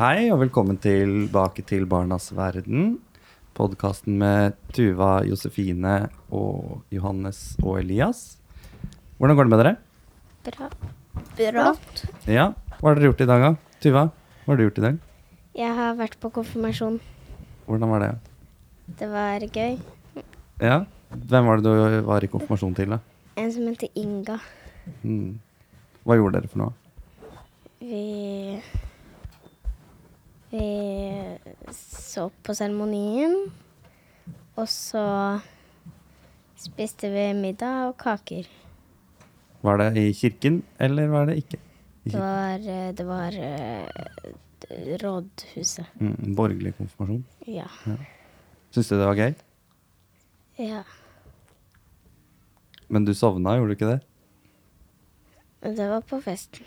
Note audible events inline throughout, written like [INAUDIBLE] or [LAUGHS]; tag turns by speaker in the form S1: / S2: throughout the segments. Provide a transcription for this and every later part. S1: Hei, og velkommen tilbake til Barnas verden. Podkasten med Tuva, Josefine og Johannes og Elias. Hvordan går det med dere?
S2: Bra.
S3: Brått.
S1: Ja, Hva har dere gjort i dag, da? Tuva, hva har du gjort i dag?
S2: Jeg har vært på konfirmasjon.
S1: Hvordan var det?
S2: Det var gøy.
S1: Ja, Hvem var det du var i konfirmasjon til, da?
S2: En som heter Inga.
S1: Hmm. Hva gjorde dere for noe?
S2: Vi Vi så på seremonien. Og så spiste vi middag og kaker.
S1: Var det i kirken, eller var det ikke? I
S2: Det
S1: kirken?
S2: var, eh, det var eh, rådhuset.
S1: Hmm, borgerlig konfirmasjon.
S2: Ja.
S1: Syns du det var gøy?
S2: ja.
S1: Men du sovna, gjorde du ikke det?
S2: Men det var på [LAUGHS] festen.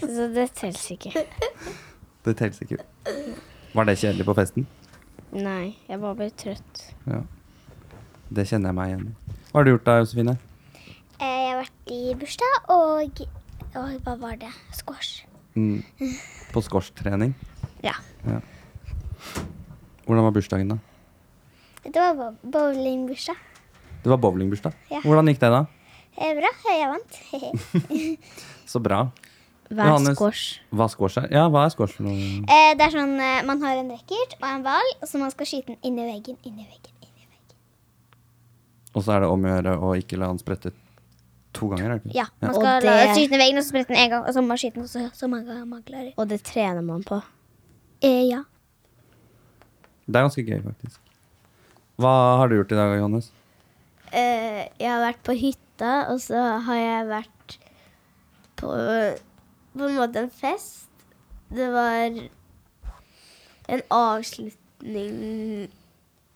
S2: Så det teller ikke.
S1: Det telles ikke. Var det kjedelig på festen?
S2: Nei, jeg bare ble trøtt.
S1: Ja. Det kjenner jeg meg igjen i. Hva har du gjort da, Josefine?
S3: Eh, Jeg har vært i bursdag og Oi, hva var det? Squash.
S1: Mm. På skorstrening?
S3: Ja.
S1: ja. Hvordan var bursdagen, da?
S3: Det var bow- bowlingbursdag.
S1: Det var bowlingbursdag.
S3: Ja.
S1: Hvordan gikk det, da?
S3: Eh, Bra, jeg vant. [LAUGHS]
S1: Så bra.
S2: Hver
S1: Johannes.
S2: squash.
S1: Hva squash er? Ja, hva er squash for noe?
S3: Eh, det er sånn eh, man har en racket og en ball, og så man skal skyte den inn i veggen, inn i veggen, inn i veggen.
S1: Og så er det om å gjøre å ikke la han sprette to ganger, er det ikke?
S3: Ja, man
S2: Og
S3: skal la
S2: det-
S3: skyte den i veggen, og så sprette den en gang, og så må man skyte den så, så mange ganger man klarer.
S2: Og det trener man på.
S3: Eh, ja.
S1: Det er ganske gøy, faktisk. Hva har du gjort i dag, Johannes?
S2: Eh, jeg har vært på hytta, og så har jeg vært på på en måte en fest. Det var en avslutning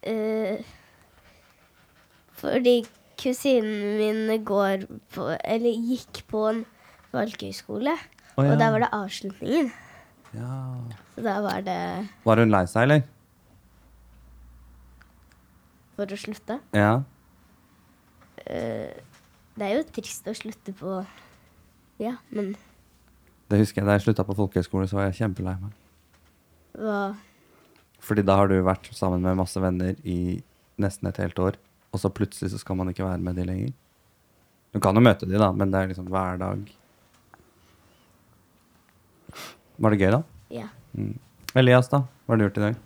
S2: eh, fordi kusinen min går på Eller gikk på en valgehøyskole,
S1: Å, ja.
S2: og der var det avslutningen.
S1: Ja.
S2: Så da var det
S1: Var hun lei seg, eller?
S2: for å slutte.
S1: Ja.
S2: Det er jo trist å slutte på Ja, men
S1: Det husker jeg da jeg slutta på folkehøyskole, så var jeg kjempelei meg.
S2: hva
S1: Fordi da har du vært sammen med masse venner i nesten et helt år, og så plutselig så skal man ikke være med de lenger. Du kan jo møte de, da, men det er liksom hver dag. Var det gøy, da?
S2: Ja.
S1: Mm. Elias, da? Hva har du gjort i dag?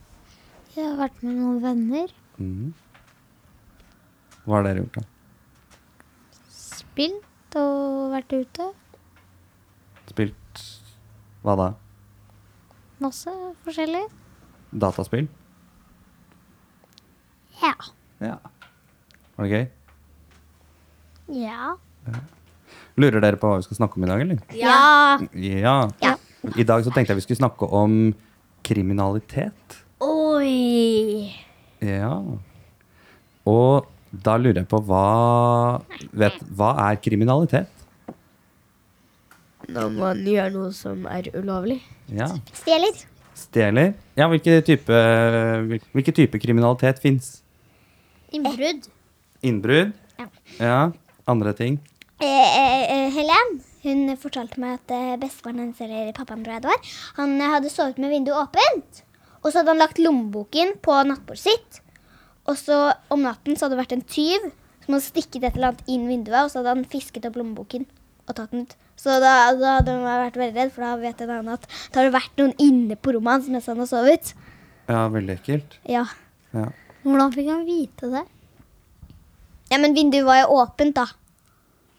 S4: Jeg har vært med noen venner,
S1: Mhm. Hva har dere gjort, da?
S4: spilt og vært ute.
S1: Spilt hva da?
S4: Masse forskjellig.
S1: Dataspill?
S4: Ja.
S1: Ja. Var det gøy?
S4: Ja.
S1: Lurer dere på hva vi skal snakke om i dag, eller?
S4: Ja.
S1: Ja.
S3: Ja.
S1: I dag så tenkte jeg vi skulle snakke om kriminalitet.
S4: Oi.
S1: Ja. Og da lurer jeg på hva vet, Hva er kriminalitet?
S2: Når man gjør noe som er ulovlig.
S1: Ja.
S3: Stjeler.
S1: Stjeler? Ja, hvilke type, hvil- hvilke type kriminalitet fins?
S3: Innbrudd.
S1: Innbrudd? Ja. Andre ting?
S3: Eh, eh, eh, Helen hun fortalte meg at eh, bestefaren hennes eller pappaen tror jeg det var, han eh, hadde sovet med vinduet åpent. Og så hadde han lagt lommeboken på nattbordet sitt. Og så om natten så hadde det vært en tyv som hadde stikket et eller annet inn vinduet, og så hadde han fisket opp lommeboken og tatt den ut. Så da, da hadde han vært veldig redd, for da vet en annen at det har vært noen inne på rommet hans mens han har sovet.
S1: Ja, veldig ekkelt.
S3: Ja.
S1: Ja.
S4: Hvordan fikk han vite det?
S3: ja, men vinduet var jo åpent, da.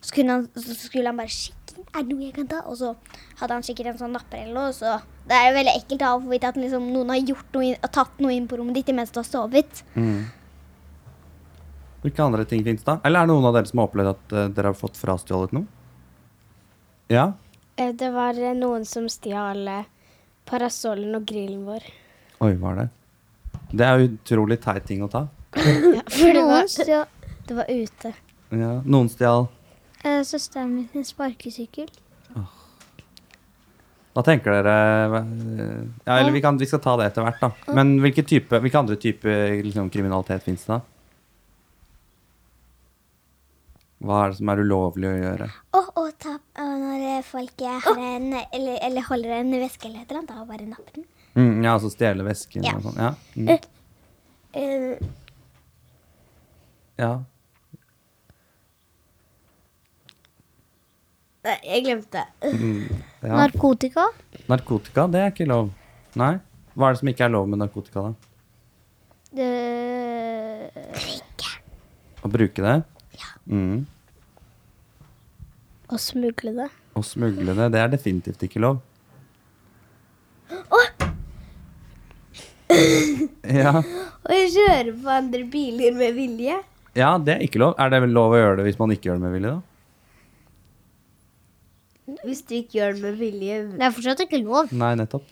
S3: Så, kunne han, så skulle han bare sjekke er det noe jeg kan ta. Og så hadde han sikkert en sånn napper eller noe. Så det er jo veldig ekkelt da, å få vite at liksom, noen har gjort noe inn, har tatt noe inn på rommet ditt mens du har sovet.
S1: Mm. Hvilke andre ting fins da? Eller er det noen av dere som har opplevd at eh, dere har fått frastjålet noe? Ja?
S5: Eh, Det var eh, noen som stjal eh, parasollen og grillen vår.
S1: Oi, var det? Det er jo utrolig teit ting å ta.
S4: For det
S2: var-
S4: var, stjal, det var ute.
S1: Ja. Noen stjal.
S4: Eh, Søsteren min sin sparkesykkel.
S1: Hva tenker dere eh, Ja, eller vi, kan, vi skal ta det etter hvert, da. Men hvilke, type, hvilke andre typer liksom, kriminalitet fins det, da? Hva er det som er ulovlig å gjøre?
S3: Og, og, ta, og når eh, folk har en, eller, eller holder en veske eller et eller annet, da bare napper den.
S1: Mm, ja, altså stjele vesken
S3: Ja.
S1: og sånn. Ja. Mm.
S2: Eh,
S1: ja.
S2: nei, jeg glemte.
S1: Mm, ja.
S4: Narkotika.
S1: Narkotika, det er ikke lov. Nei. Hva er det som ikke er lov med narkotika, da?
S4: Det
S1: Å bruke det? Mm.
S4: Å smugle det.
S1: Å smugle det, det er definitivt ikke lov. Ja.
S2: Og jeg kjører på andre biler med vilje.
S1: ja, det er ikke lov. Er det vel lov å gjøre det hvis man ikke gjør det med vilje, da?
S2: Hvis du ikke gjør det med vilje.
S4: Det er fortsatt ikke lov.
S1: Nei, nettopp.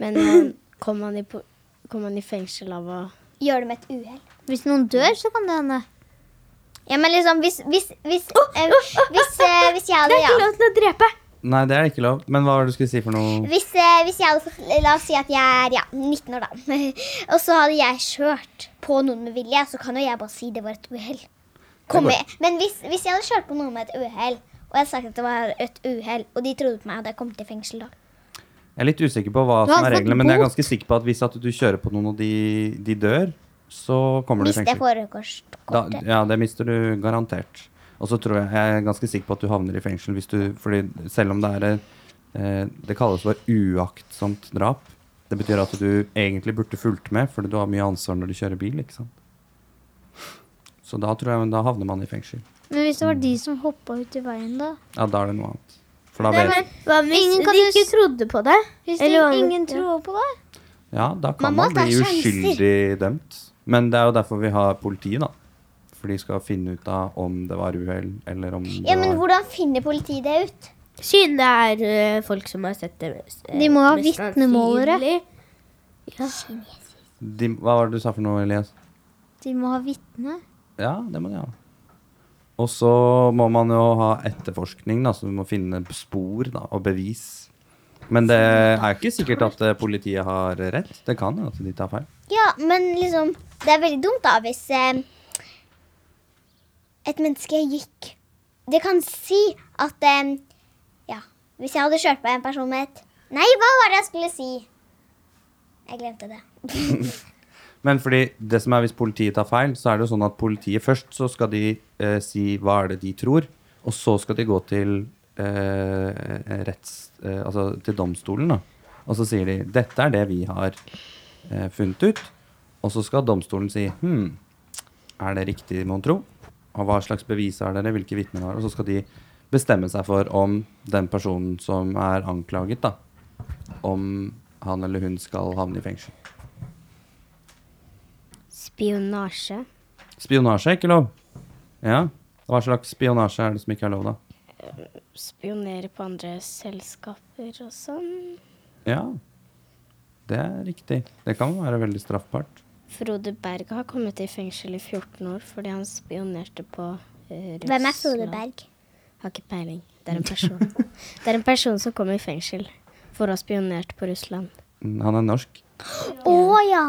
S5: Men eh, kom han i, po- kom han i fengsel av å
S3: Gjør det med et uhell.
S4: Hvis noen dør, så kan det hende.
S3: Ja, men liksom, hvis Hvis, hvis, eh, hvis, eh, hvis jeg hadde ja.
S2: Lov til å drepe.
S1: Nei, det er ikke lov. Men hva var det du skulle si for noe?
S3: Hvis, eh, hvis jeg hadde fått, La oss si at jeg er ja, 19 år, da. [LAUGHS] og så hadde jeg kjørt på noen med vilje, så kan jo jeg bare si det var et uhell. Kommer- Men hvis, hvis jeg hadde kjørt på noen med et uhell, og jeg hadde sagt at det var et uhell, og de trodde på meg, hadde jeg kommet i fengsel da.
S1: Jeg er litt usikker på hva
S4: Du
S1: som
S4: har
S1: er
S4: fått
S1: reglene, men jeg er
S4: bot.
S1: ganske sikker på at hvis at du kjører på noen og de, de dør, så kommer du i
S3: Hvis det
S1: fengsel. Da,
S3: foregår
S1: ja, det mister du garantert. Og så tror jeg, jeg er ganske sikker på at du havner i fengsel hvis du Fordi selv om det er eh, Det kalles for uaktsomt drap. Det betyr at du egentlig burde fulgt med, fordi du har mye ansvar når du kjører bil. ikke sant? Så da tror jeg da havner man i fengsel.
S4: Men hvis det var de som hoppa ut i veien, da?
S1: Ja, da er det noe annet. For da
S2: Nei,
S1: vet
S2: men, hva hvis
S4: Ingen kan
S2: de
S4: jo
S2: ikke
S4: s-
S2: trodde på det?
S4: Hvis
S2: Eller hva-
S4: ingen
S2: ja.
S4: tror på deg?
S1: Ja, da kan
S3: Man må
S1: man,
S3: ta
S1: bli
S3: sjanser.
S1: uskyldig dømt. Men det er jo derfor vi har politiet, da. For de skal finne ut av om det var uhell, eller om det
S3: Ja, men
S1: var
S3: hvordan finner politiet det ut?
S5: Siden det er eh, folk som har sett det mest, eh,
S4: De må ha
S5: mest
S4: vitnemålere.
S5: sannsynlig.
S1: de, Hva var det du sa for noe, Elias?
S4: De må ha vitne.
S1: Ja, det må de ha. Og så må man jo ha etterforskning, da, så du må finne spor da, og bevis. Men det er ikke sikkert at eh, politiet har rett. Det kan jo at de tar feil.
S3: Ja, men liksom Det er veldig dumt, da, hvis eh, et menneske gikk Det kan si at eh, Ja, hvis jeg hadde kjørt på en person med et Nei, hva var det jeg skulle si? Jeg glemte det.
S1: Men fordi det som er hvis politiet tar feil, så er det jo sånn at politiet først så skal de eh, si hva er det de tror, og så skal de gå til eh, retts... Eh, altså til domstolen, da. Og så sier de dette er det vi har eh, funnet ut. Og så skal domstolen si hm, er det riktig, mon tro? Og hva slags bevis er dere? Hvilke vitner har dere? Og så skal de bestemme seg for om den personen som er anklaget, da, om han eller hun skal havne i fengsel.
S5: Spionasje.
S1: Spionasje er ikke lov. Ja. Hva slags spionasje er det som ikke er lov, da?
S5: Spionere på andre selskaper og sånn.
S1: Ja, det er riktig. Det kan være veldig straffbart.
S5: Frode Berg har kommet i fengsel i 14 år fordi han spionerte på eh, Russland.
S3: Hvem er Frode Berg?
S5: Har ikke peiling. Det er en
S2: [LAUGHS]
S5: person. det er en person som kom i fengsel for å ha spionert på Russland.
S1: Mm, Han er norsk.
S3: Å ja!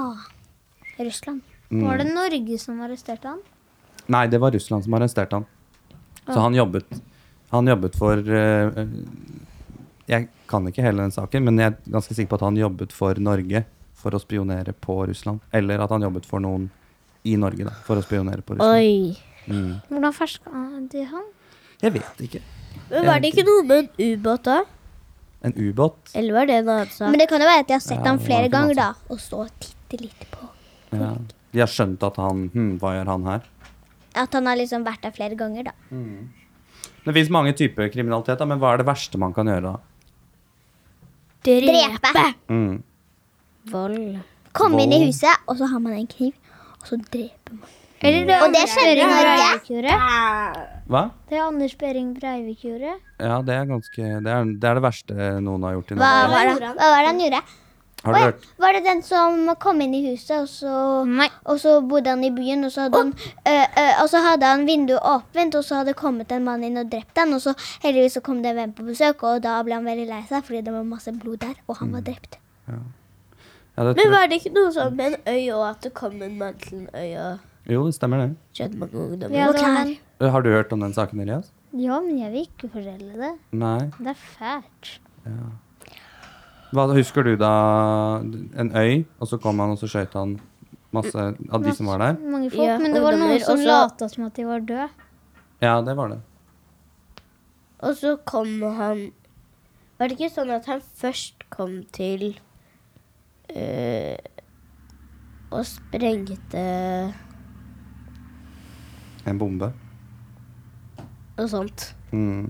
S3: Russland.
S1: Mm.
S4: Var det Norge som arresterte han?
S1: Nei, det var Russland som arresterte han. Så han jobbet Han jobbet for eh, eh, Jeg kan ikke hele den saken, men jeg er ganske sikker på at han jobbet for Norge for å spionere på Russland. Eller at han jobbet for noen i Norge da, for å spionere på Russland.
S5: Oi!
S4: Hvordan ferska de han?
S1: Jeg vet ikke.
S2: Men var det ikke noe med en ubåt da?
S1: En ubåt?
S2: Eller var det en annen sak?
S3: Men det kan jo være at de har sett
S1: Ja,
S3: ham
S1: det var
S3: flere
S1: ikke
S3: ganger, da, og så titte litt på.
S1: Ja. De har skjønt at han hm, Hva gjør han her?
S3: At han har liksom vært der flere ganger, da.
S1: Det fins mange typer kriminalitet, da, men hva er det verste man kan gjøre da?
S3: Drepe!
S1: Mm.
S5: Vold.
S3: Komme inn i
S1: Vold.
S3: huset, og så har man en kniv, og så dreper man.
S4: Eller det
S3: Og det skjedde i Norge.
S4: Norge.
S1: Hva?
S4: Det Anders Behring Breivik gjorde.
S1: Ja, det er ganske det er, det er det verste noen har gjort i
S3: Hva
S1: Norge.
S3: var det, hva var det han gjorde?
S1: Har du hørt?
S3: Var det den som kom inn i huset, og så,
S4: Nei.
S3: og så bodde han i byen, og så, hadde han, ø, ø, og så hadde han vinduet åpent, og så hadde kommet en mann inn og drept han, og så heldigvis så kom det en venn på besøk, og da ble han veldig lei seg, fordi det var masse blod der, og
S1: Mm.
S3: han var drept.
S1: Ja, det
S2: Men
S1: tror jeg.
S2: var det ikke noe sånn med en øy og at det kom en mann til en øy og
S1: Jo, det stemmer det.
S2: skjøt mange ungdommer?
S4: Ja,
S3: Og
S4: det var
S3: klær.
S4: den.
S1: Eh, Har du hørt om den saken, Elias?
S4: ja, men jeg vil ikke fortelle det.
S1: Nei.
S4: Det er fælt.
S1: Hva husker du da? En øy, og så kom han, og så skjøt han masse av de som var der?
S4: Mange folk,
S2: Ja,
S4: men det var
S2: ungdommer,
S4: noen som
S2: og så-
S4: lata som at de var døde.
S1: Ja, det var det.
S2: Og så kom han Var det ikke sånn at han først kom til eh, Og sprengte
S1: En bombe.
S2: og sånt?
S1: Mm.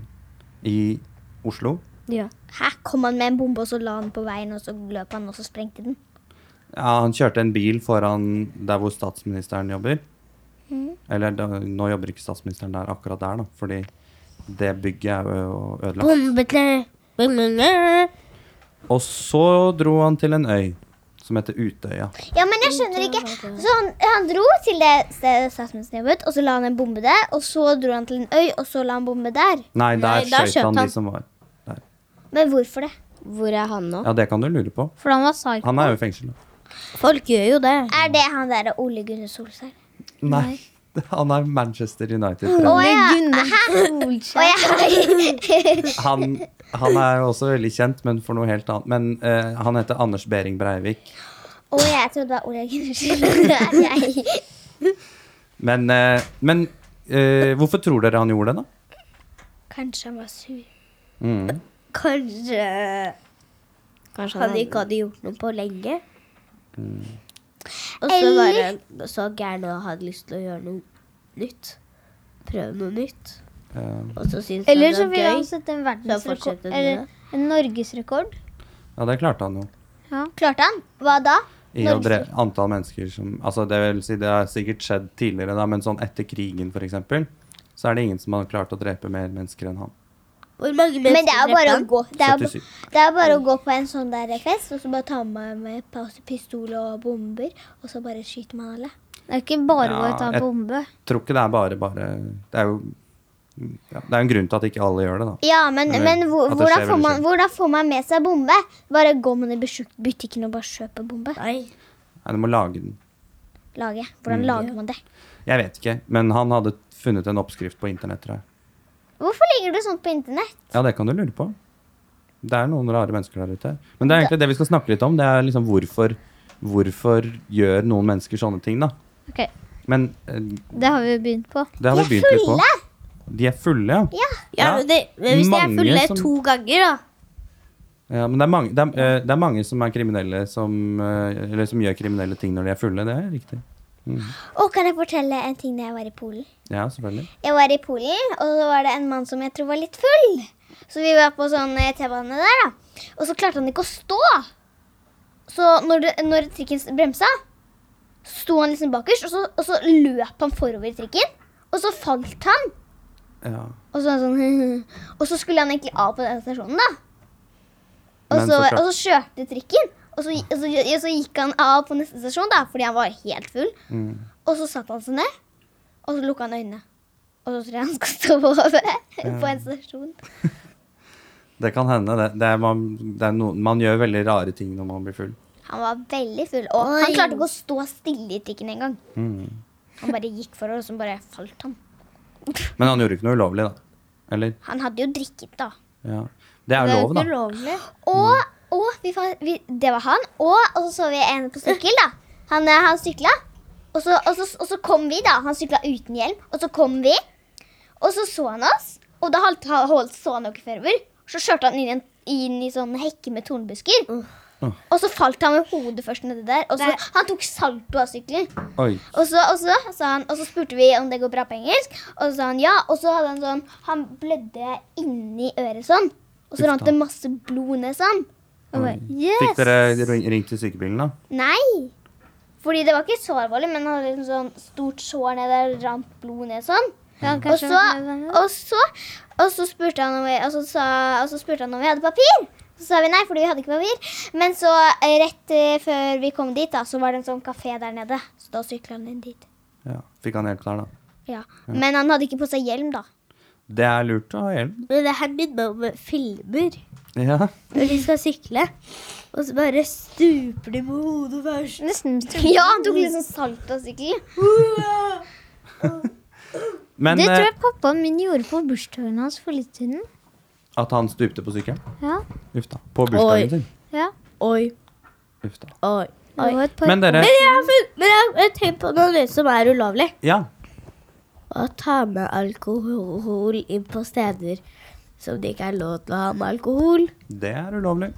S1: I Oslo?
S2: Ja.
S3: Hæ? Kom han med en bombe, og så la han på veien, og så løp han, og så sprengte den?
S1: Ja, han kjørte en bil foran der hvor statsministeren jobber. Eller da, nå jobber ikke statsministeren der akkurat der, da, fordi det bygget er jo ødelagt.
S2: Bombete! Bombete!
S1: Og så dro han til en øy som heter Utøya.
S3: Ja, men jeg skjønner ikke. Så han, han dro til det stedet statsministeren jobbet, og så la han en bombe der, og så dro han til en øy, og så la han bombe der.
S1: Nei, der
S2: Nei, der
S1: skjøt han,
S2: skjøt han.
S1: de som var der.
S3: Men hvorfor det?
S5: Hvor er han nå?
S1: Ja, det kan du lure på.
S4: For han var psycho.
S1: Han er jo i fengsel. da.
S2: Folk gjør jo det.
S3: Er det han der Ole Gunnar Solskjær?
S1: Nei. [LAUGHS] Han er Manchester
S3: Å
S1: United-trener.
S3: ja. Å
S4: Gunnar
S3: ja. [LAUGHS]
S1: Han, han er jo også veldig kjent, men for noe helt annet. Men eh, han heter Anders Behring Breivik.
S3: Å, jeg trodde det var Ole Gunnar Solskjær. [LAUGHS] Nei.
S1: Men, eh, men eh, hvorfor tror dere han gjorde det, da?
S2: Kanskje han var sur.
S1: Mm.
S2: Kanskje
S5: Kanskje
S2: han
S3: Sånn
S5: han er-
S2: ikke hadde gjort noe på lenge. Og så
S3: Mm. Eller-
S2: var han så gæren og hadde lyst til å gjøre noe nytt. Prøve noe nytt.
S1: Eh,
S2: Og så syntes han
S4: Eller så
S2: det
S4: ville
S2: var
S4: han
S2: gøy.
S4: sette en
S2: Så fortsetter
S4: verdensrekord.
S2: den
S4: Eller en norgesrekord.
S1: ja, det klarte han jo.
S3: Klarte han? Hva da?
S1: I å dre antall mennesker som Altså, det vil si, det har sikkert skjedd tidligere, da, men sånn etter krigen, for eksempel, så er det ingen som har klart å drepe mer mennesker enn han.
S2: Hvor mange mennesker
S3: Men det er jo bare å gå. Det er, jo
S1: 77.
S3: ba- det er bare å gå på en sånn der fest, og så bare ta med, med pas- pistol og bomber, og så bare skyter man alle.
S4: Det er ikke bare å
S1: Ja,
S4: ta
S1: jeg-
S4: bombe.
S1: Tror ikke det er bare bare Det er jo ja, Det er en grunn til at ikke alle gjør det, da.
S3: Ja, men,
S1: Eller
S3: men hvor,
S1: at det
S3: hvordan,
S1: skjer
S3: får
S1: veldig
S3: man,
S1: sjelden.
S3: hvordan får man med seg bombe? Bare går man i besjuk- butikken og bare kjøper bombe?
S2: Nei.
S1: Nei, du må lage den.
S3: Lage.
S1: Mm.
S3: Hvordan lager man det?
S1: Jeg vet ikke, men han hadde funnet en oppskrift på internett, tror jeg.
S3: Hvorfor ligger det sånt på internett?
S1: Ja, det kan du lure på. Det er noen rare mennesker der ute. Men det er egentlig det vi skal snakke litt om. Det er liksom hvorfor, hvorfor gjør noen mennesker sånne ting, da.
S4: Ok.
S1: Men eh,
S4: Det har vi jo begynt på.
S1: det har vi begynt litt på. De er fulle, ja.
S2: Ja,
S1: Ja,
S2: men, det, men hvis de er
S1: mange
S2: fulle
S1: som-
S2: to ganger, da
S1: ja men det er, mange, det, er, eh, det er mange som er kriminelle, som, eh, eller som gjør kriminelle ting når de er fulle. Det er riktig.
S3: Å, kan jeg fortelle en ting da jeg var i Polen?
S1: Ja, selvfølgelig.
S3: Jeg var i Polen, og så var det en mann som jeg tror var litt full. Så vi var på sånn eh, T-bane der, da. Og så klarte han ikke å stå. Så når, det, når trikken bremsa, sto han liksom bakerst, og så, og så løp han forover i trikken. Og så falt han.
S1: Ja.
S3: Og så, var han sånn, [LAUGHS] og så skulle han egentlig av på den stasjonen, da. Og
S1: Men
S3: så,
S1: så klart-
S3: og så kjørte trikken. Og så, og, så, og så gikk han av på neste stasjon da, fordi han var helt full.
S1: Mm.
S3: Og så satt han seg ned, og så lukka han øynene. Og så tror jeg han skal stå over på [LAUGHS] en stasjon.
S1: Det kan hende, det. det er man, det er noen- man gjør veldig rare ting når man blir full.
S3: Han var veldig full, og han klarte ikke å stå stille i trikken engang.
S1: Mm.
S3: Han bare gikk forover, og så bare falt han.
S1: Men han gjorde ikke noe ulovlig, da. Eller?
S3: Han hadde jo drikket, da.
S1: Ja. Det er jo lov, da.
S4: ulovlig.
S3: Og, og vi fant, vi, det var han. Og, og så så vi en på sykkel, da. Han, eh, han sykla. Og så, og, så, og så kom vi, da. Han sykla uten hjelm. Og så kom vi, og så så han oss. Og da holdt, holdt så han ikke forover. Så kjørte han inn i, en, inn i sånn hekke med tornbusker. Og så falt han med hodet først nedi der. Og så, han tok salto av sykkelen.
S1: Oi.
S3: Og så, og, så, sa han, og så spurte vi om det går bra på engelsk, og så sa han ja. Og så hadde han sånn Han blødde inni øret sånn. Og
S1: Uff
S3: så rant
S1: da.
S3: det masse blod ned sånn.
S1: Oi. Fikk
S4: Yes!
S1: dere ring- ringt til sykebilen, da?
S3: Nei! Fordi det var ikke så alvorlig, men han hadde liksom sånn stort sår ned der, rant blod ned sånn.
S4: Ja,
S3: Og
S4: kanskje
S3: så,
S4: han er venner.
S3: og så, og så spurte han om vi, og så, sa, og så spurte han om vi hadde papir. Så Så sa vi nei, fordi vi hadde ikke papir. Men så eh, rett eh, før vi kom dit, da, så var det en sånn kafé der nede. Så da sykla han inn dit.
S1: Ja. Fikk han helt klar, da.
S3: Ja. Men han hadde ikke på seg hjelm, da.
S1: Det er lurt å ha hjelm.
S2: Men det her minner meg om filmer.
S1: Ja.
S2: Når de skal sykle, og så bare stuper de med hodet og bare sånn.
S4: Nesten.
S3: [LAUGHS]
S4: Mm.
S3: Ja, han tok litt sånn salt og sykkel.
S1: Men
S4: det tror
S1: eh,
S4: jeg pappaen min gjorde på bursdagen hans for litt siden.
S1: at han stupte på sykkelen?
S4: Ja.
S1: Uff da. På bursdagen
S2: Oi.
S1: sin.
S4: ja.
S2: Oi,
S1: Uff da.
S2: oi.
S4: Det var et par
S1: Men dere
S2: Men jeg har funnet- men jeg har tenkt på noe nytt som er ulovlig.
S1: Ja.
S2: Å ta med alkohol inn på steder som det ikke er lov til å ha med alkohol.
S1: Det er ulovlig.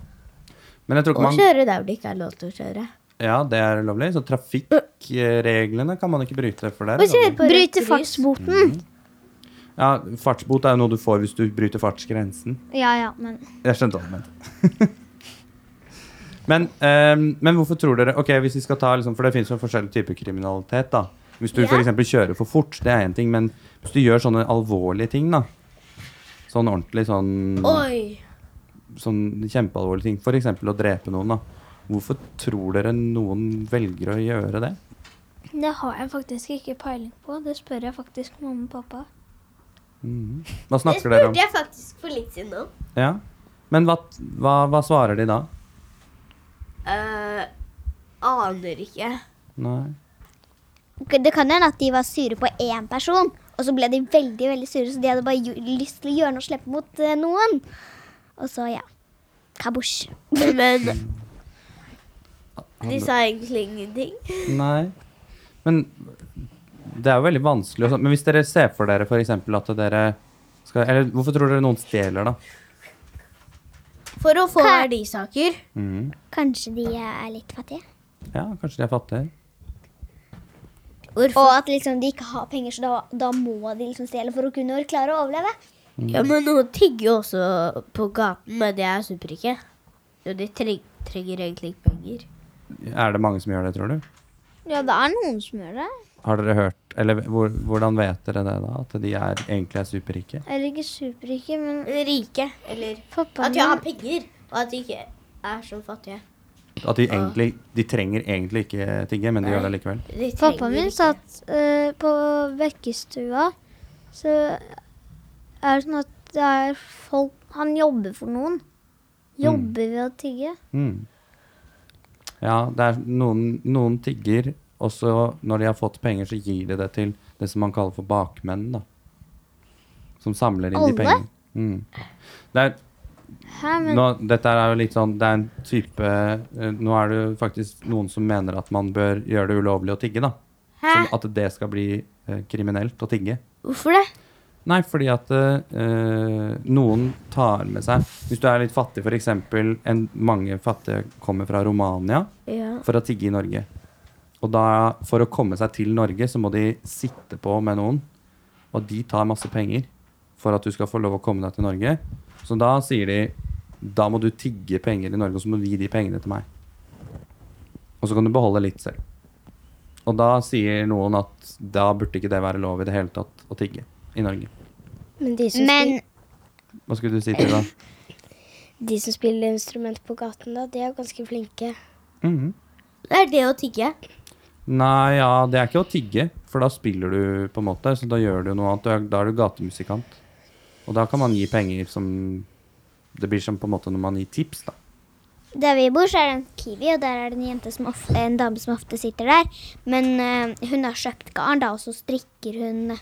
S1: Men jeg tror ikke
S2: Og
S1: man
S2: kjøre der det ikke er lov til å kjøre.
S1: Ja, det er ulovlig. Så trafikkreglene kan man ikke bryte for det. er
S2: Og kjøre
S1: ulovlig.
S2: på
S4: Bryte
S2: rødt lys.
S4: fartsboten.
S1: Mm. Ja, fartsbot er jo noe du får hvis du bryter fartsgrensen.
S4: Ja, ja, men
S1: Jeg skjønte hva du mente. [LAUGHS] men, ehm, men hvorfor tror dere Ok, hvis vi skal ta liksom, For det finnes jo forskjellige typer kriminalitet, da. Hvis du for f.eks. kjører for fort, det er én ting, men hvis du gjør sånne alvorlige ting, da. Sånn ordentlig sånn
S2: Oi.
S1: sånn kjempealvorlige ting, f.eks. å drepe noen, da. Hvorfor tror dere noen velger å gjøre det?
S4: det har jeg faktisk ikke peiling på. Det spør jeg faktisk mamma og pappa.
S1: Mhm. Hva snakker dere om?
S2: jeg faktisk for litt siden om.
S1: Ja. Men hva, hva, hva svarer de da?
S2: Eh, aner ikke.
S1: Nei.
S3: Det kan hende at de var sure på én person, og så ble de veldig veldig sure, så de hadde bare gj- lyst til å gjøre noe slemt mot eh, noen. Og så, ja. Kabosj.
S2: Men de sa egentlig ingenting.
S1: Nei. Men det er jo veldig vanskelig. og sånn. Men hvis dere ser for dere f.eks. at dere skal Eller hvorfor tror dere noen stjeler, da?
S2: For å få verdisaker.
S1: Mhm.
S3: Kanskje de er litt fattige.
S1: Ja, kanskje de er fattige.
S3: Og at liksom de ikke har penger, så da, da må de liksom stjele for å kunne klare å overleve.
S2: Ja, men noen tigger jo også på gaten, men det er super ikke. Jo, de treng, trenger egentlig ikke penger.
S1: Er det mange som gjør det, tror du?
S4: Ja, det er noen som gjør det.
S1: Har dere hørt Eller hvor, hvordan vet dere det, da? At de er, egentlig er superrike?
S4: Eller ikke superrike, men
S2: Rike, eller
S4: pappaen
S2: At de har penger, og at de ikke er så fattige.
S1: At de egentlig De trenger egentlig ikke tigge, men de gjør det likevel?
S2: De trenger
S4: Pappaen min
S2: ikke.
S4: sa at eh, på vekkestua så er det sånn at det er folk Han jobber for noen. Jobber ved å tigge.
S1: Mm. Ja, det er noen, noen tigger, og så når de har fått penger, så gir de det til det som man kaller for bakmenn, da. Som samler inn
S4: Alle?
S1: de pengene. Mm. Det er,
S4: Hæ, men
S1: nå, dette er jo litt sånn Det er en type eh, Nå er det jo faktisk noen som mener at man bør gjøre det ulovlig å tigge, da. Som at det skal bli eh, kriminelt å tigge.
S2: Hvorfor det?
S1: Nei, fordi at eh, noen tar med seg Hvis du er litt fattig, f.eks. Mange fattige kommer fra Romania
S2: Ja.
S1: for å tigge i Norge. Og da, for å komme seg til Norge, så må de sitte på med noen. Og de tar masse penger for at du skal få lov å komme deg til Norge. Så da sier de da må du tigge penger i Norge, og så må du gi de pengene til meg. Og så kan du beholde litt selv. Og da sier noen at da burde ikke det være lov i det hele tatt å tigge i Norge.
S5: Men de som,
S3: Men
S1: Hva skulle du si til det?
S5: spiller, de som spiller instrument på gaten, da, de er jo ganske flinke.
S1: Mhm.
S2: Det er det å tigge.
S1: Nei, ja, det er ikke å tigge, for da spiller du på en måte, så da gjør du noe annet. Du er- Da er du gatemusikant. Og da kan man gi penger som Det blir som på en måte når man gir tips, da.
S3: Der vi bor, så er det en kiwi, og der er det en, jente som ofte, en dame som ofte sitter der. Men eh, hun har kjøpt garn, da, og så strikker hun, eh,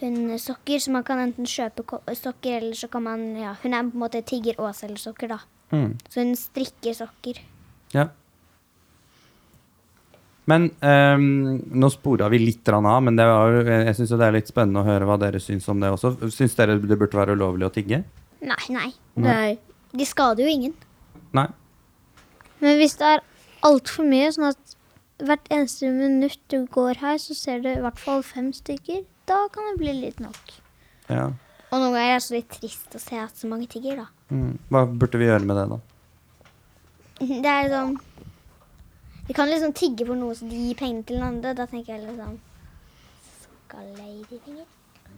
S3: hun sokker. Så man kan enten kjøpe ko- sokker, eller så kan man ja, Hun er på en måte tigger og selger sokker, da.
S1: Mm.
S3: Så hun strikker sokker.
S1: Ja. Men ehm, nå spora vi litt grann av, men det var, jo- jeg syns det er litt spennende å høre hva dere syns om det også. Syns dere det burde være ulovlig å tigge?
S3: Nei, nei.
S2: Nei.
S3: De skader jo ingen.
S1: Nei?
S4: Men hvis det er altfor mye, sånn at hvert eneste minutt du går her, så ser du i hvert fall fem stykker, da kan det bli litt nok.
S1: Ja.
S3: Og noen ganger er det så litt trist å se at så mange tigger, da.
S1: Mm. Hva burde vi gjøre med det, da?
S3: Det er sånn De kan liksom tigge for noe, så de gir pengene til den andre. Da tenker jeg liksom Skal jeg gi de penger?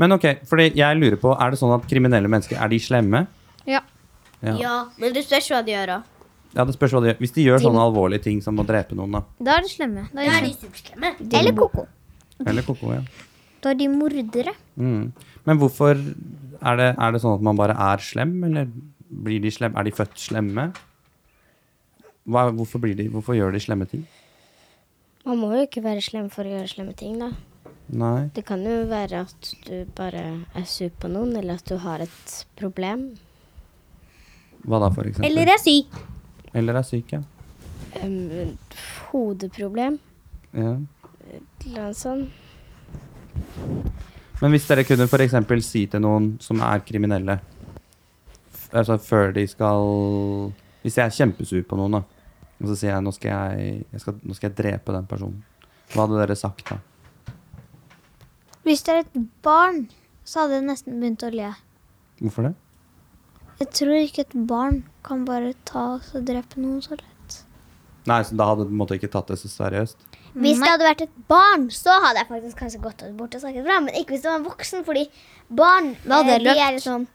S1: Men ok, fordi jeg lurer på, er det sånn at kriminelle mennesker, er de slemme?
S4: Ja.
S1: Ja.
S2: Ja, men det spørs hva de gjør òg.
S1: Ja, det spørs hva de gjør. Hvis de gjør sånne alvorlige ting som å drepe noen, da.
S4: Da er de slemme. Da
S2: Da
S4: er
S2: er
S4: de,
S2: de superslemme.
S3: Eller koko.
S1: Eller koko, ja.
S4: da er de mordere.
S1: Mm. Men hvorfor er det, er det sånn at man bare er slem, eller blir de slem? Er de født slemme? Hva, hvorfor, blir de, hvorfor gjør de slemme ting?
S5: Man må jo ikke være slem for å gjøre slemme ting, da.
S1: Nei.
S5: Det kan jo være at du bare er sur på noen, eller at du har et problem.
S1: Hva da, for eksempel?
S2: Eller er syk.
S1: Eller er syk, ja.
S5: Um, hodeproblem,
S1: ja.
S5: eller noe sånt.
S1: Men hvis dere kunne for eksempel si til noen som er kriminelle, f- altså før de skal Hvis jeg er kjempesur på noen, da, og så sier jeg nå skal jeg, jeg skal, nå skal jeg drepe den personen, hva hadde dere sagt da?
S4: Hvis det er et barn, så hadde jeg nesten begynt å le.
S1: Hvorfor det?
S4: Jeg tror ikke et barn kan bare ta og drepe noen så lett.
S1: Nei, så da hadde du på en måte ikke tatt det så seriøst?
S3: Hvis det hadde vært et barn, så hadde jeg faktisk kanskje gått bort og snakket fra. Men ikke hvis det var en voksen, fordi barn
S4: Da
S3: eh,
S4: hadde jeg
S3: de
S4: løpt.
S3: er liksom,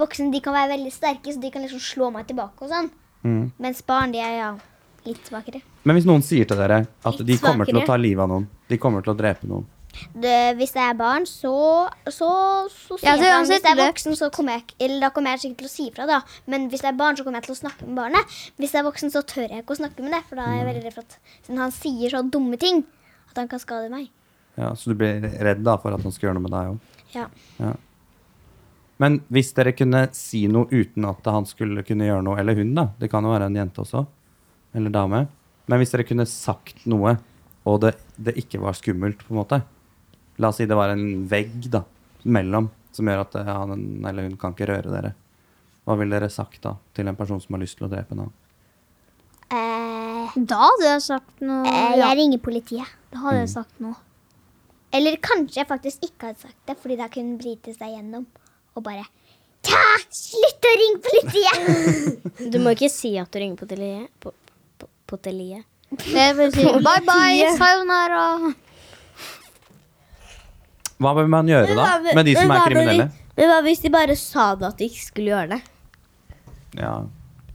S3: voksne de kan være veldig sterke, så de kan liksom slå meg tilbake og sånn.
S1: Mm.
S3: Mens barn de er ja, litt svakere.
S1: Men hvis noen sier til dere at
S2: Litt
S1: de kommer til å
S2: svakere.
S1: ta livet av noen, de kommer til å drepe noen
S3: Det, hvis det er barn, så, så, så sier
S4: Ja,
S3: jeg fra.
S4: så
S3: Men
S4: uansett
S3: Hvis det er
S4: løpt.
S3: voksen, så kommer jeg, ikke- eller da kommer jeg sikkert til å si fra. da. Men hvis det er barn, så kommer jeg til å snakke med barnet. Hvis det er voksen, så tør jeg ikke å snakke med det, for da er jeg veldig redd for at siden han sier så dumme ting, at han kan skade meg.
S1: ja, Så du blir redd da for at noen skal gjøre noe med deg òg?
S3: Ja.
S1: Ja. Men hvis dere kunne si noe uten at han skulle kunne gjøre noe, eller hun, da Det kan jo være en jente også. Eller dame. Men hvis dere kunne sagt noe, og det, det ikke var skummelt, på en måte La oss si det var en vegg da, mellom, som gjør at eh, han eller hun kan ikke røre dere. Hva ville dere sagt da til en person som har lyst til å drepe en annen?
S3: Eh,
S4: Da hadde jeg sagt noe.
S3: eh,
S4: ja.
S3: jeg ringer politiet.
S4: Da hadde jeg sagt noe.
S3: Eller kanskje jeg faktisk ikke hadde sagt det, fordi da kunne bryte seg gjennom og bare Ta! Slutt å ringe politiet! [LAUGHS]
S5: Du må ikke si at du ringer på teliet. På, på, på teliet.
S4: Jeg vil si bye bye, sayonara.
S1: Hva bør man gjøre da med de som er kriminelle?
S2: Men hva hvis de bare sa det at de ikke skulle gjøre det?
S1: Ja,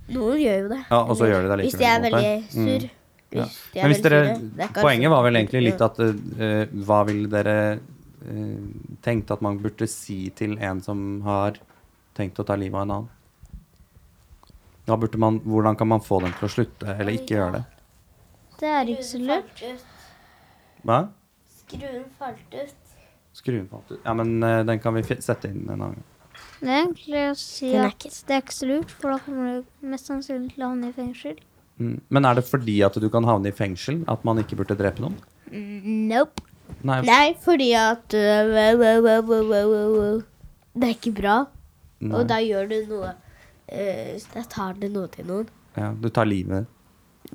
S2: Noen gjør jo det.
S1: ja Og så gjør de det
S2: Hvis de er
S1: likevel. på en
S2: veldig
S1: måte. Mm.
S2: sur.
S1: Ja.
S2: Hvis de er
S1: Men hvis
S2: veldig
S1: dere,
S2: sure, det er ikke
S1: poenget
S2: alltid-
S1: var vel egentlig litt at eh, Hva ville dere eh, tenkt at man burde si til en som har tenkt å ta livet av en annen? Da burde man, hvordan kan man få dem til å slutte eller ikke gjøre det?
S4: Det er ikke så lurt.
S1: Hva?
S2: Skruen falt ut.
S1: Skruen falt ut. Ja, men eh, den kan vi fi- sette inn en annen gang.
S4: Det er egentlig å si
S5: Den er
S4: at det er ikke så lurt, for da kommer du mest sannsynlig til å havne i fengsel.
S1: Mm. Men er det fordi at du kan havne i fengsel at man ikke burde drepe noen?
S2: Nope.
S1: Nei.
S2: Nei, fordi at øh, wow, wow, wow, wow, wow, wow, wow. Det er ikke bra.
S1: Nei.
S2: Og da gjør du noe øh, Da tar du noe til noen.
S1: Ja, du tar livet.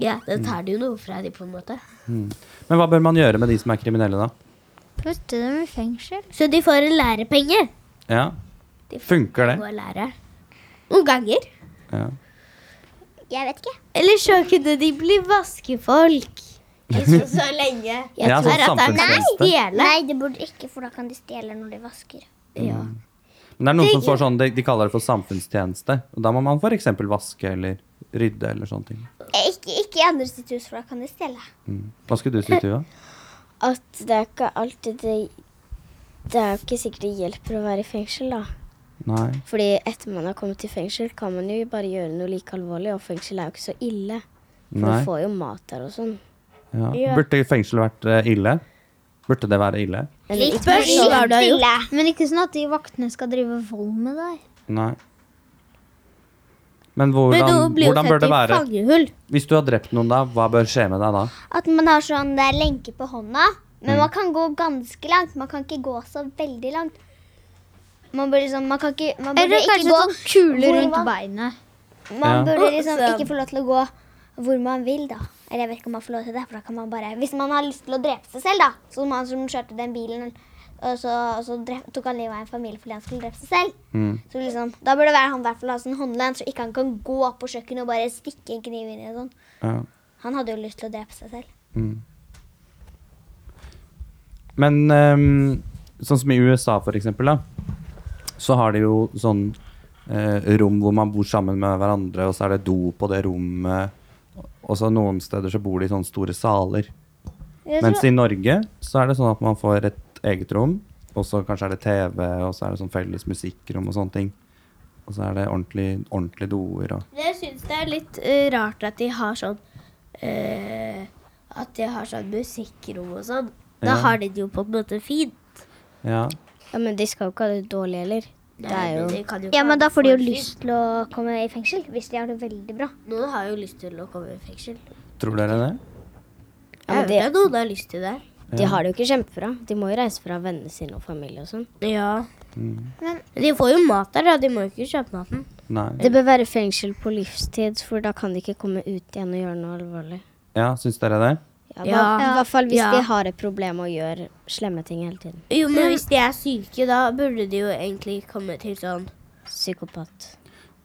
S2: Ja, Da tar du jo noe fra dem, på en måte.
S1: Mm. Men hva bør man gjøre med de som er kriminelle, da?
S4: Putte dem i fengsel.
S2: Så de får en lærepenge.
S1: Ja. Funker det?
S2: Gå og lære. Noen ganger.
S1: Ja.
S3: Jeg vet ikke.
S2: Eller så kunne de bli vaskefolk. Ikke så lenge. Jeg
S1: Ja, sånn
S2: tror at det er
S1: samfunnstjeneste.
S2: Nei, stjele.
S3: Nei, det burde ikke, for da kan de stjele når de vasker.
S2: Ja.
S1: Men det er noen som får sånn, de, de kaller det for samfunnstjeneste. Og da må man f.eks. vaske eller rydde eller sånne ting.
S3: Eh, Ikke, ikke i andre sitt hus, for da kan de stjele.
S1: Mm. Hva skulle du si, Tuva?
S5: At det er ikke alltid det Det er jo ikke sikkert det hjelper å være i fengsel, da.
S1: Nei.
S5: Fordi etter man har kommet i fengsel, kan man jo bare gjøre noe like alvorlig, og fengsel er jo ikke så ille. For
S1: Nei.
S5: du får jo mat der og sånn.
S1: Ja. Burde fengsel vært eh, ille? Burde det være ille?
S5: Men
S2: Litt
S5: ikke-
S2: spørs hva du har gjort.
S4: Men ikke sånn at de vaktene skal drive vold med deg.
S1: Nei. Men
S2: Men noen
S1: hvordan,
S2: blir jo
S1: hvordan bør
S2: tatt
S1: det
S2: i
S1: være?
S2: fangehull.
S1: Hvis du har drept noen, da, hva bør skje med deg da?
S3: At man har sånn der lenke på hånda.
S1: Mm.
S3: Men man kan gå ganske langt. Man kan ikke gå så veldig langt. Man burde liksom Man kan ikke man burde
S4: Eller
S3: ikke
S4: kanskje
S3: gå
S4: sånn kule rundt
S3: Hvordan?
S4: beinet.
S1: Ja.
S3: Man burde
S2: Og
S3: liksom
S2: så-
S3: ikke få lov til å gå hvor man vil, da. Eller jeg vet ikke om man får lov til det, for da kan man bare Hvis man har lyst til å drepe seg selv, da. Som han som kjørte den bilen, og så, og så drep, tok han livet av en familie fordi han skulle drepe seg selv.
S1: Mm.
S3: Så liksom, Da burde det være han i hvert fall ha sånn håndledd, så ikke han kan gå opp på kjøkkenet og bare stikke en kniv inn i og sånn.
S1: Ja.
S3: Han hadde jo lyst til å drepe seg selv.
S1: Mm. Men ehm, sånn som i USA, for eksempel, da, så har de jo sånn eh, rom hvor man bor sammen med hverandre, og så er det do på det rommet. Og så noen steder så bor de i sånne store saler.
S4: Jeg
S1: Mens
S4: tror,
S1: i Norge så er det sånn at man får et eget rom, og så kanskje er det TV, og så er det sånn felles musikkrom og sånne ting. Og så er det ordentlig, ordentlig doer og
S2: Jeg syns det er litt eh, rart at de har sånn eh, At de har sånn musikkrom og sånn. Da
S1: Ja.
S2: har de det jo på en måte fint.
S1: Ja.
S5: Ja, Men de skal jo ikke ha det dårlig heller. Det er jo
S3: Ja, men da får de jo lyst til å komme i fengsel, hvis de har det veldig bra.
S2: Noen har jo lyst til å komme i fengsel.
S1: Tror dere det?
S5: Ja,
S2: Jeg
S5: men det-
S2: vet at noen har lyst til det.
S5: De har det jo ikke kjempebra. De må jo reise fra vennene sine og familie og sånn.
S2: Ja.
S1: Mm.
S2: de får jo mat der, da. De må jo ikke kjøpe maten.
S1: Nei.
S5: Det bør være fengsel på livstid, for da kan de ikke komme ut igjen og gjøre noe alvorlig.
S1: Ja, syns dere det?
S5: Ja,
S2: Ja.
S5: hva- I hvert fall hvis
S2: Ja.
S5: de har et problem og gjør slemme ting hele tiden.
S2: Jo, men hvis de er syke, da burde de jo egentlig komme til sånn
S5: Psykopat.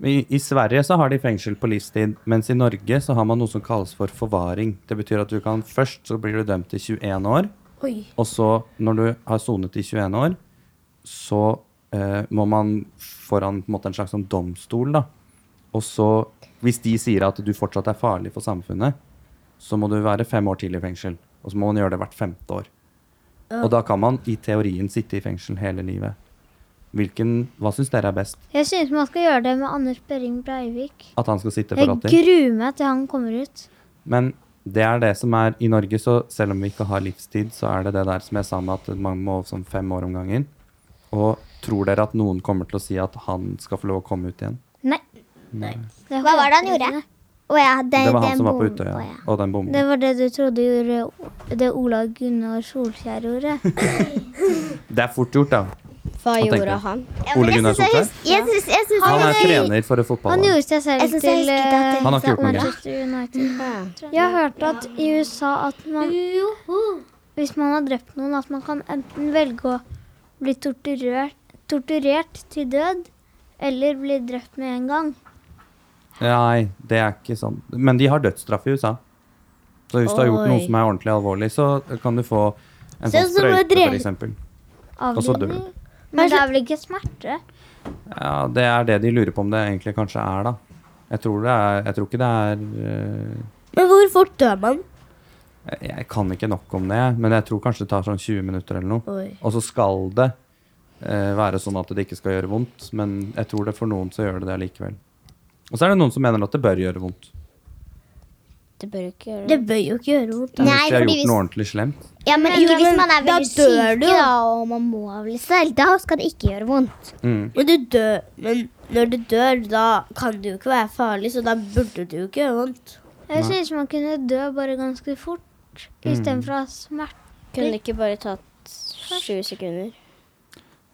S1: I, I Sverige så har de fengsel på livstid, mens i Norge så har man noe som kalles for forvaring. Det betyr at du kan først så blir du dømt til 21 år,
S2: Oi.
S1: og så når du har sonet i 21 år, så eh, må man foran på en, måte, en slags sånn domstol, da. Og så, hvis de sier at du fortsatt er farlig for samfunnet, så må du være fem år til i fengsel. Og så må man gjøre det hvert femte år. Og da kan man i teorien sitte i fengsel hele livet. Hvilken, hva syns dere er best?
S4: jeg synes man skal gjøre det med Anders Børring Breivik.
S1: At han skal sitte for
S4: Jeg
S1: alltid?
S4: gruer meg til han kommer ut.
S1: Men det er det som er i Norge, så selv om vi ikke har livstid, så er det det der som jeg sa med at man må sånn fem år om gangen. Og tror dere at noen kommer til å si at han skal få lov å komme ut igjen?
S4: Nei. Det
S3: Hva var det han gjorde? Å ja, det,
S1: Det var han
S3: den
S1: som var på
S3: bom-
S1: Utøya,
S3: å ja.
S1: og den bomben.
S4: Det var det du trodde gjorde det Ola Gunnar Solskjær
S1: [LAUGHS]
S4: gjorde.
S1: Det er fort gjort, da.
S5: Hva
S1: tenker
S5: gjorde
S1: du?
S5: han?
S1: Ole Gunnar Solskjær.
S3: Jeg synes, jeg synes
S1: Han er trener for et
S4: Han
S1: fotballag.
S4: gjorde
S3: Jeg
S4: seg selv
S3: synes jeg
S4: til
S3: husket at
S4: eh,
S3: det-
S1: Han har ikke gjort noe galt.
S4: Manchester
S5: Ja.
S4: United. Jeg hørte at i USA at man Hvis man har drept noen, at man kan enten velge å bli torturert, torturert til død, eller bli drept med en gang.
S1: Nei, det er ikke sånn. Men de har dødsstraff i USA. Så hvis du har gjort
S5: Oi.
S1: noe som er ordentlig alvorlig, så kan du få en sånn
S2: Sånn som å
S1: sprøyte,
S2: drepe-
S1: for eksempel. Og så dør
S4: Avlivning.
S1: du.
S4: Men det er vel ikke smerte?
S1: Ja, det er det de lurer på om det egentlig kanskje er, da. Jeg tror, det er, jeg tror ikke det er eh,
S2: Men hvor fort dør man?
S1: Jeg- Jeg kan ikke nok om det, men jeg tror kanskje det tar sånn 20 minutter eller noe.
S2: Oi.
S1: Og så skal det eh, være sånn at det ikke skal gjøre vondt, men jeg tror det for noen så gjør det det allikevel. Og så er det noen som mener at det bør gjøre vondt.
S5: Det bør jo ikke gjøre
S2: Det bør jo ikke gjøre vondt.
S1: Hvis
S3: Nei,
S1: de har
S3: fordi
S1: gjort
S3: hvis-
S1: noe ordentlig slemt.
S3: Ja, men
S2: Jo,
S3: ikke hvis
S2: men
S3: man er
S2: da
S3: veldig
S2: dør
S3: syk
S2: du.
S3: da, og man må avle seg. Da skal det ikke gjøre vondt.
S1: Mm.
S2: Men, du dør, men når du dør, da kan det jo ikke være farlig, så da burde det jo ikke gjøre vondt.
S4: Jeg synes man kunne dø bare ganske fort,
S1: Mm.
S4: istedenfor å ha smerte.
S5: Kunne det ikke bare tatt sju sekunder?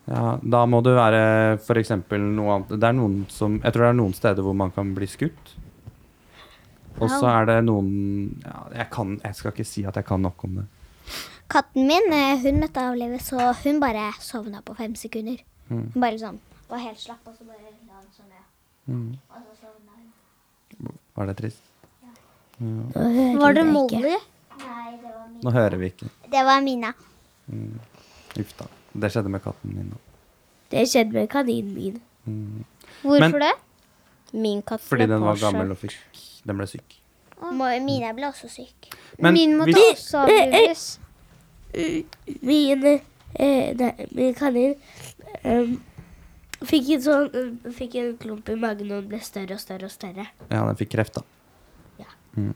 S1: Ja, da må det være for eksempel noe annet. Det er noen som, jeg tror det er noen steder hvor man kan bli skutt. Og så er det noen ja, jeg, kan, jeg skal ikke si at jeg kan nok om det.
S3: Katten min eh, hun måtte avlive, så hun bare sovna på fem sekunder.
S1: Mm.
S3: Hun bare sånn var helt slapp, og så bare la hun sånn ned. Og så sovna hun.
S1: Mm. Var det trist?
S4: Var det Molly?
S3: Nei, det var Mina.
S1: Nå hører vi ikke.
S3: Det var Mina.
S1: Uff da. Det skjedde med katten min nå.
S2: Det skjedde med kaninen min.
S4: Hvorfor
S1: Men-
S4: det?
S5: Min katt
S1: Fordi
S5: ble
S1: den var
S5: påkjørt.
S1: gammel og fikk Den ble syk.
S3: Mo- Mina ble også syk.
S1: Men
S4: Min måtte
S1: hvis-
S4: også avlives.
S2: Min, eh, nei, min kanin em, fikk, en sånn, eh, fikk en klump i magen, og den ble større og større og større.
S1: Ja, den fikk kreft, da.
S2: Ja.
S1: Mm.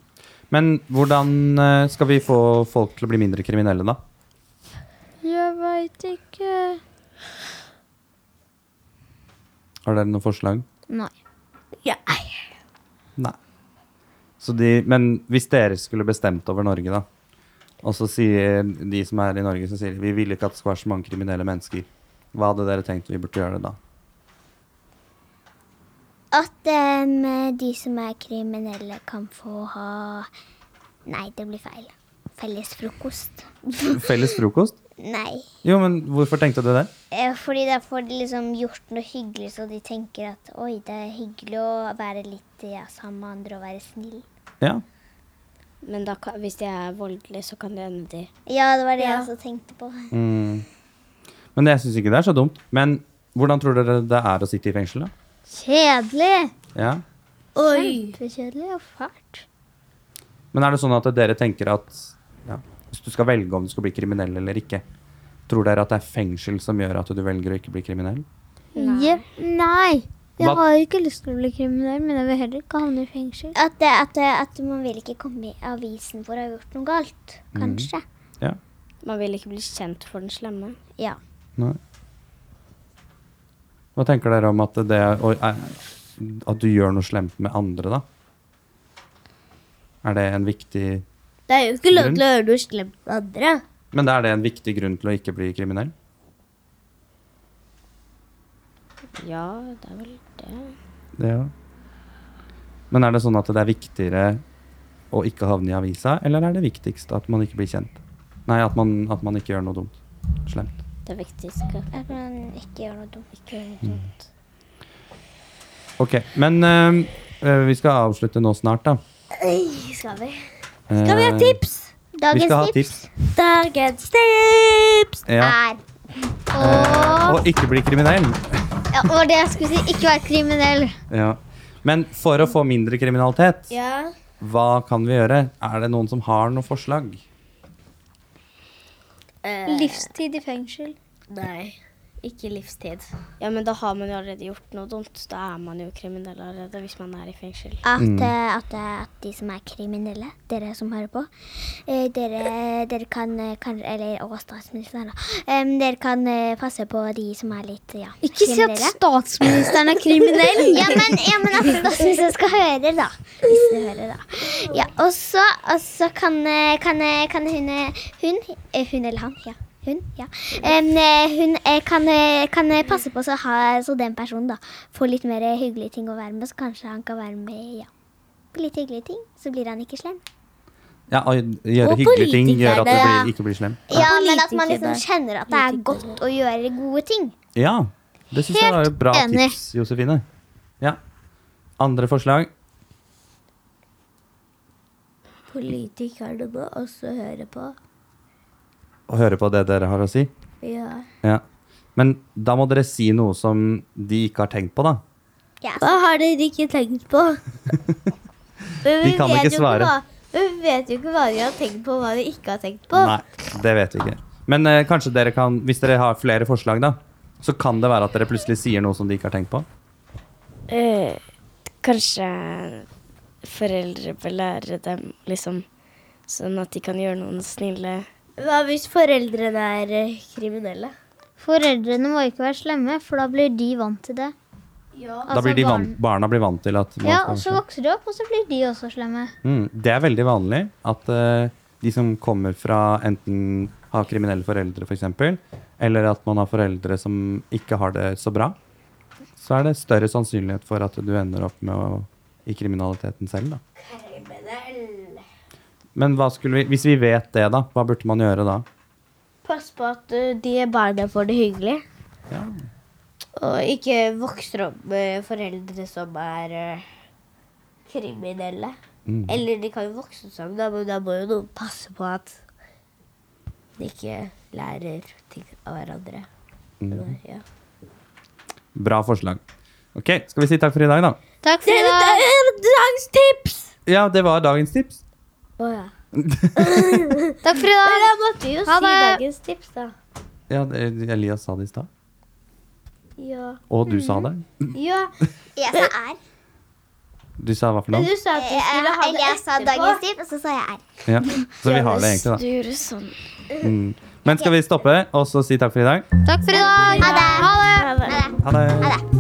S1: Men hvordan eh, skal vi få folk til å bli mindre kriminelle, da?
S4: Jeg veit ikke.
S1: Har dere noen forslag?
S4: Nei.
S2: Ja.
S1: Nei. Så de, men hvis dere skulle bestemt over Norge, da, og så sier de som er i Norge, så sier de vi ville ikke at det skulle være så mange kriminelle mennesker, hva hadde dere tenkt vi burde gjøre det da?
S3: At em, de som er kriminelle, kan få ha Nei, det blir feil. Felles frokost.
S1: Felles frokost?
S3: Nei.
S1: Jo, men hvorfor tenkte du det?
S3: Eh, Fordi da får de liksom gjort noe hyggelig, så de tenker at oi, det er hyggelig å være litt ja, sammen med andre og være snill.
S1: Ja.
S5: Men da, kan- hvis de er voldelige, så kan det hende de
S3: Ja, det var det
S2: Ja.
S3: jeg også tenkte på.
S1: Mm. Men jeg syns ikke det er så dumt. Men hvordan tror dere det er å sitte i fengsel, da?
S4: Kjedelig!
S1: Ja.
S2: Oi!
S4: Kjempekjedelig og fælt.
S1: Men er det sånn at dere tenker at ja, hvis du skal velge om du skal bli kriminell eller ikke, tror dere at det er fengsel som gjør at du velger å ikke bli kriminell?
S4: Nei. Nei. Jeg
S1: Hva-
S4: har ikke lyst til å bli kriminell, men jeg vil heller ikke havne i fengsel.
S3: At, det, at, det, at man vil ikke komme i avisen for å ha gjort noe galt. Kanskje.
S1: Ja.
S5: Man vil ikke bli kjent for den slemme.
S3: Ja.
S1: Nei. Hva tenker dere om at det å- er- At du gjør noe slemt med andre, da? Er det en viktig
S2: Det er jo ikke lov
S1: Grunn?
S2: til å gjøre noe slemt med andre.
S1: Men er det en viktig grunn til å ikke bli kriminell?
S5: Ja, det er vel det.
S1: Ja. Men er det sånn at det er viktigere å ikke havne i avisa, eller er det viktigst at man ikke blir kjent? Nei, at man, at man ikke gjør noe dumt. Slemt.
S5: Det er viktigst.
S3: At man ikke gjør noe dumt.
S5: Ikke gjøre noe dumt.
S1: Ok, men øhm, øh, vi skal avslutte nå snart, da.
S2: Skal vi?
S1: Skal vi ha tips? Vi skal ha
S3: Dagens tips
S1: tips.
S2: Dagens tips!
S1: Ja.
S3: er
S1: Og ikke bli kriminell.
S4: Ja, og det jeg skulle si, ikke være kriminell.
S1: [LAUGHS] Ja. Men for å få mindre kriminalitet,
S2: Ja.
S1: hva kan vi gjøre? Er det noen som har noe forslag?
S4: Livstid i fengsel.
S2: Nei. Ikke livstid.
S5: Ja, men da har man jo allerede gjort noe dumt. Da er man jo kriminell allerede hvis man er i fengsel.
S3: at, eh, at, eh, at de som er kriminelle, dere som hører på eh, dere, dere kan, eh, kan Eller og statsministeren, da. Em, dere kan eh, passe på de som er litt ja,
S4: Ikke si at statsministeren er kriminell.
S3: ja, men, ja, men at statsministeren skal høre, da. Hvis du hører, da. Ja, og så, og så kan, eh, kan, eh, kan hun eh, Hun, eh, hun eller han. ja. Hun, ja. Em, eh, hun eh, kan, eh, kan eh, passe på så, ha, så den personen da får litt mer eh, hyggelige ting å være med, så kanskje han kan være med ja, på litt hyggelige ting. Så blir han ikke slem.
S1: Ja, å gjøre
S2: Og
S1: hyggelige ting gjør at du
S2: politikerne.
S1: blir, ikke blir slem.
S3: Ja, men at man liksom
S2: Politikere.
S3: kjenner at det er godt å gjøre gode ting.
S1: Ja, det syns jeg var et bra
S4: enig.
S1: tips, Josefine. Ja. Andre forslag?
S2: Politikerne må også høre på.
S1: Å høre på det dere har å si?
S2: Ja.
S1: Ja. Men da må dere si noe som de ikke har tenkt på, da.
S3: Ja,
S2: Hva har dere ikke tenkt på? Men
S1: [LAUGHS] De kan
S2: vet
S1: ikke
S2: jo
S1: svare.
S2: hva- men vi vet jo ikke hva de har tenkt på, og hva de ikke har tenkt på.
S1: Nei, det vet vi ikke. Men eh, kanskje dere kan, hvis dere har flere forslag, da, så kan det være at dere plutselig sier noe som de ikke har tenkt på.
S5: Eh, kanskje foreldre bør lære dem, liksom, sånn at de kan gjøre noen snille
S2: Hva hvis foreldrene er eh, kriminelle?
S4: Foreldrene må ikke være slemme, for da blir de vant til det.
S1: da
S4: Altså,
S1: blir de van,
S4: barn-
S1: barna blir vant til at man
S4: Ja,
S1: skal
S4: og så
S1: være slem.
S4: vokser de opp, og så blir de også slemme.
S1: mm, Det er veldig vanlig at eh, de som kommer fra enten har kriminelle foreldre, f.eks., for eksempel, eller at man har foreldre som ikke har det så bra, så er det større sannsynlighet for at du ender opp med å, i kriminaliteten selv. Da. Men hva skulle vi, hvis vi vet det, da, hva burde man gjøre da?
S2: Pass på at eh, de barna får det hyggelig,
S1: Ja.
S2: og ikke vokser opp med foreldre som er eh, kriminelle.
S1: Mm.
S2: Eller de kan jo vokse sammen, da, men da må jo noen passe på at de ikke lærer ting av hverandre.
S1: Mm.
S2: Ja.
S1: Bra forslag. Ok, skal vi si takk for i dag, da?
S4: Takk for i dag.
S2: Dagens tips!
S1: Ja, det var dagens tips.
S2: Å ja.
S4: Takk for i dag.
S2: Da måtte vi jo
S4: Ha
S2: si
S4: det.
S2: dagens tips, da.
S1: Ja, det- Elias sa det i stad.
S2: Ja.
S1: Og du
S4: Mm.
S1: sa det.
S2: ja.
S3: jeg sa R.
S1: Du sa hva for
S2: Men
S1: noe?
S2: du sa at du skulle ha
S3: Eller
S2: det
S3: eh, jeg sa
S2: etterpå.
S3: dagens tips, og så sa jeg R.
S1: Ja. Så vi har det egentlig,
S5: Du gjorde sånn.
S1: da. Mm. Men skal vi stoppe og så si takk for i dag?
S4: Takk for i dag.
S3: Ha det.
S4: Ha det.
S3: Ha det.
S1: Ha det.
S3: Ha det.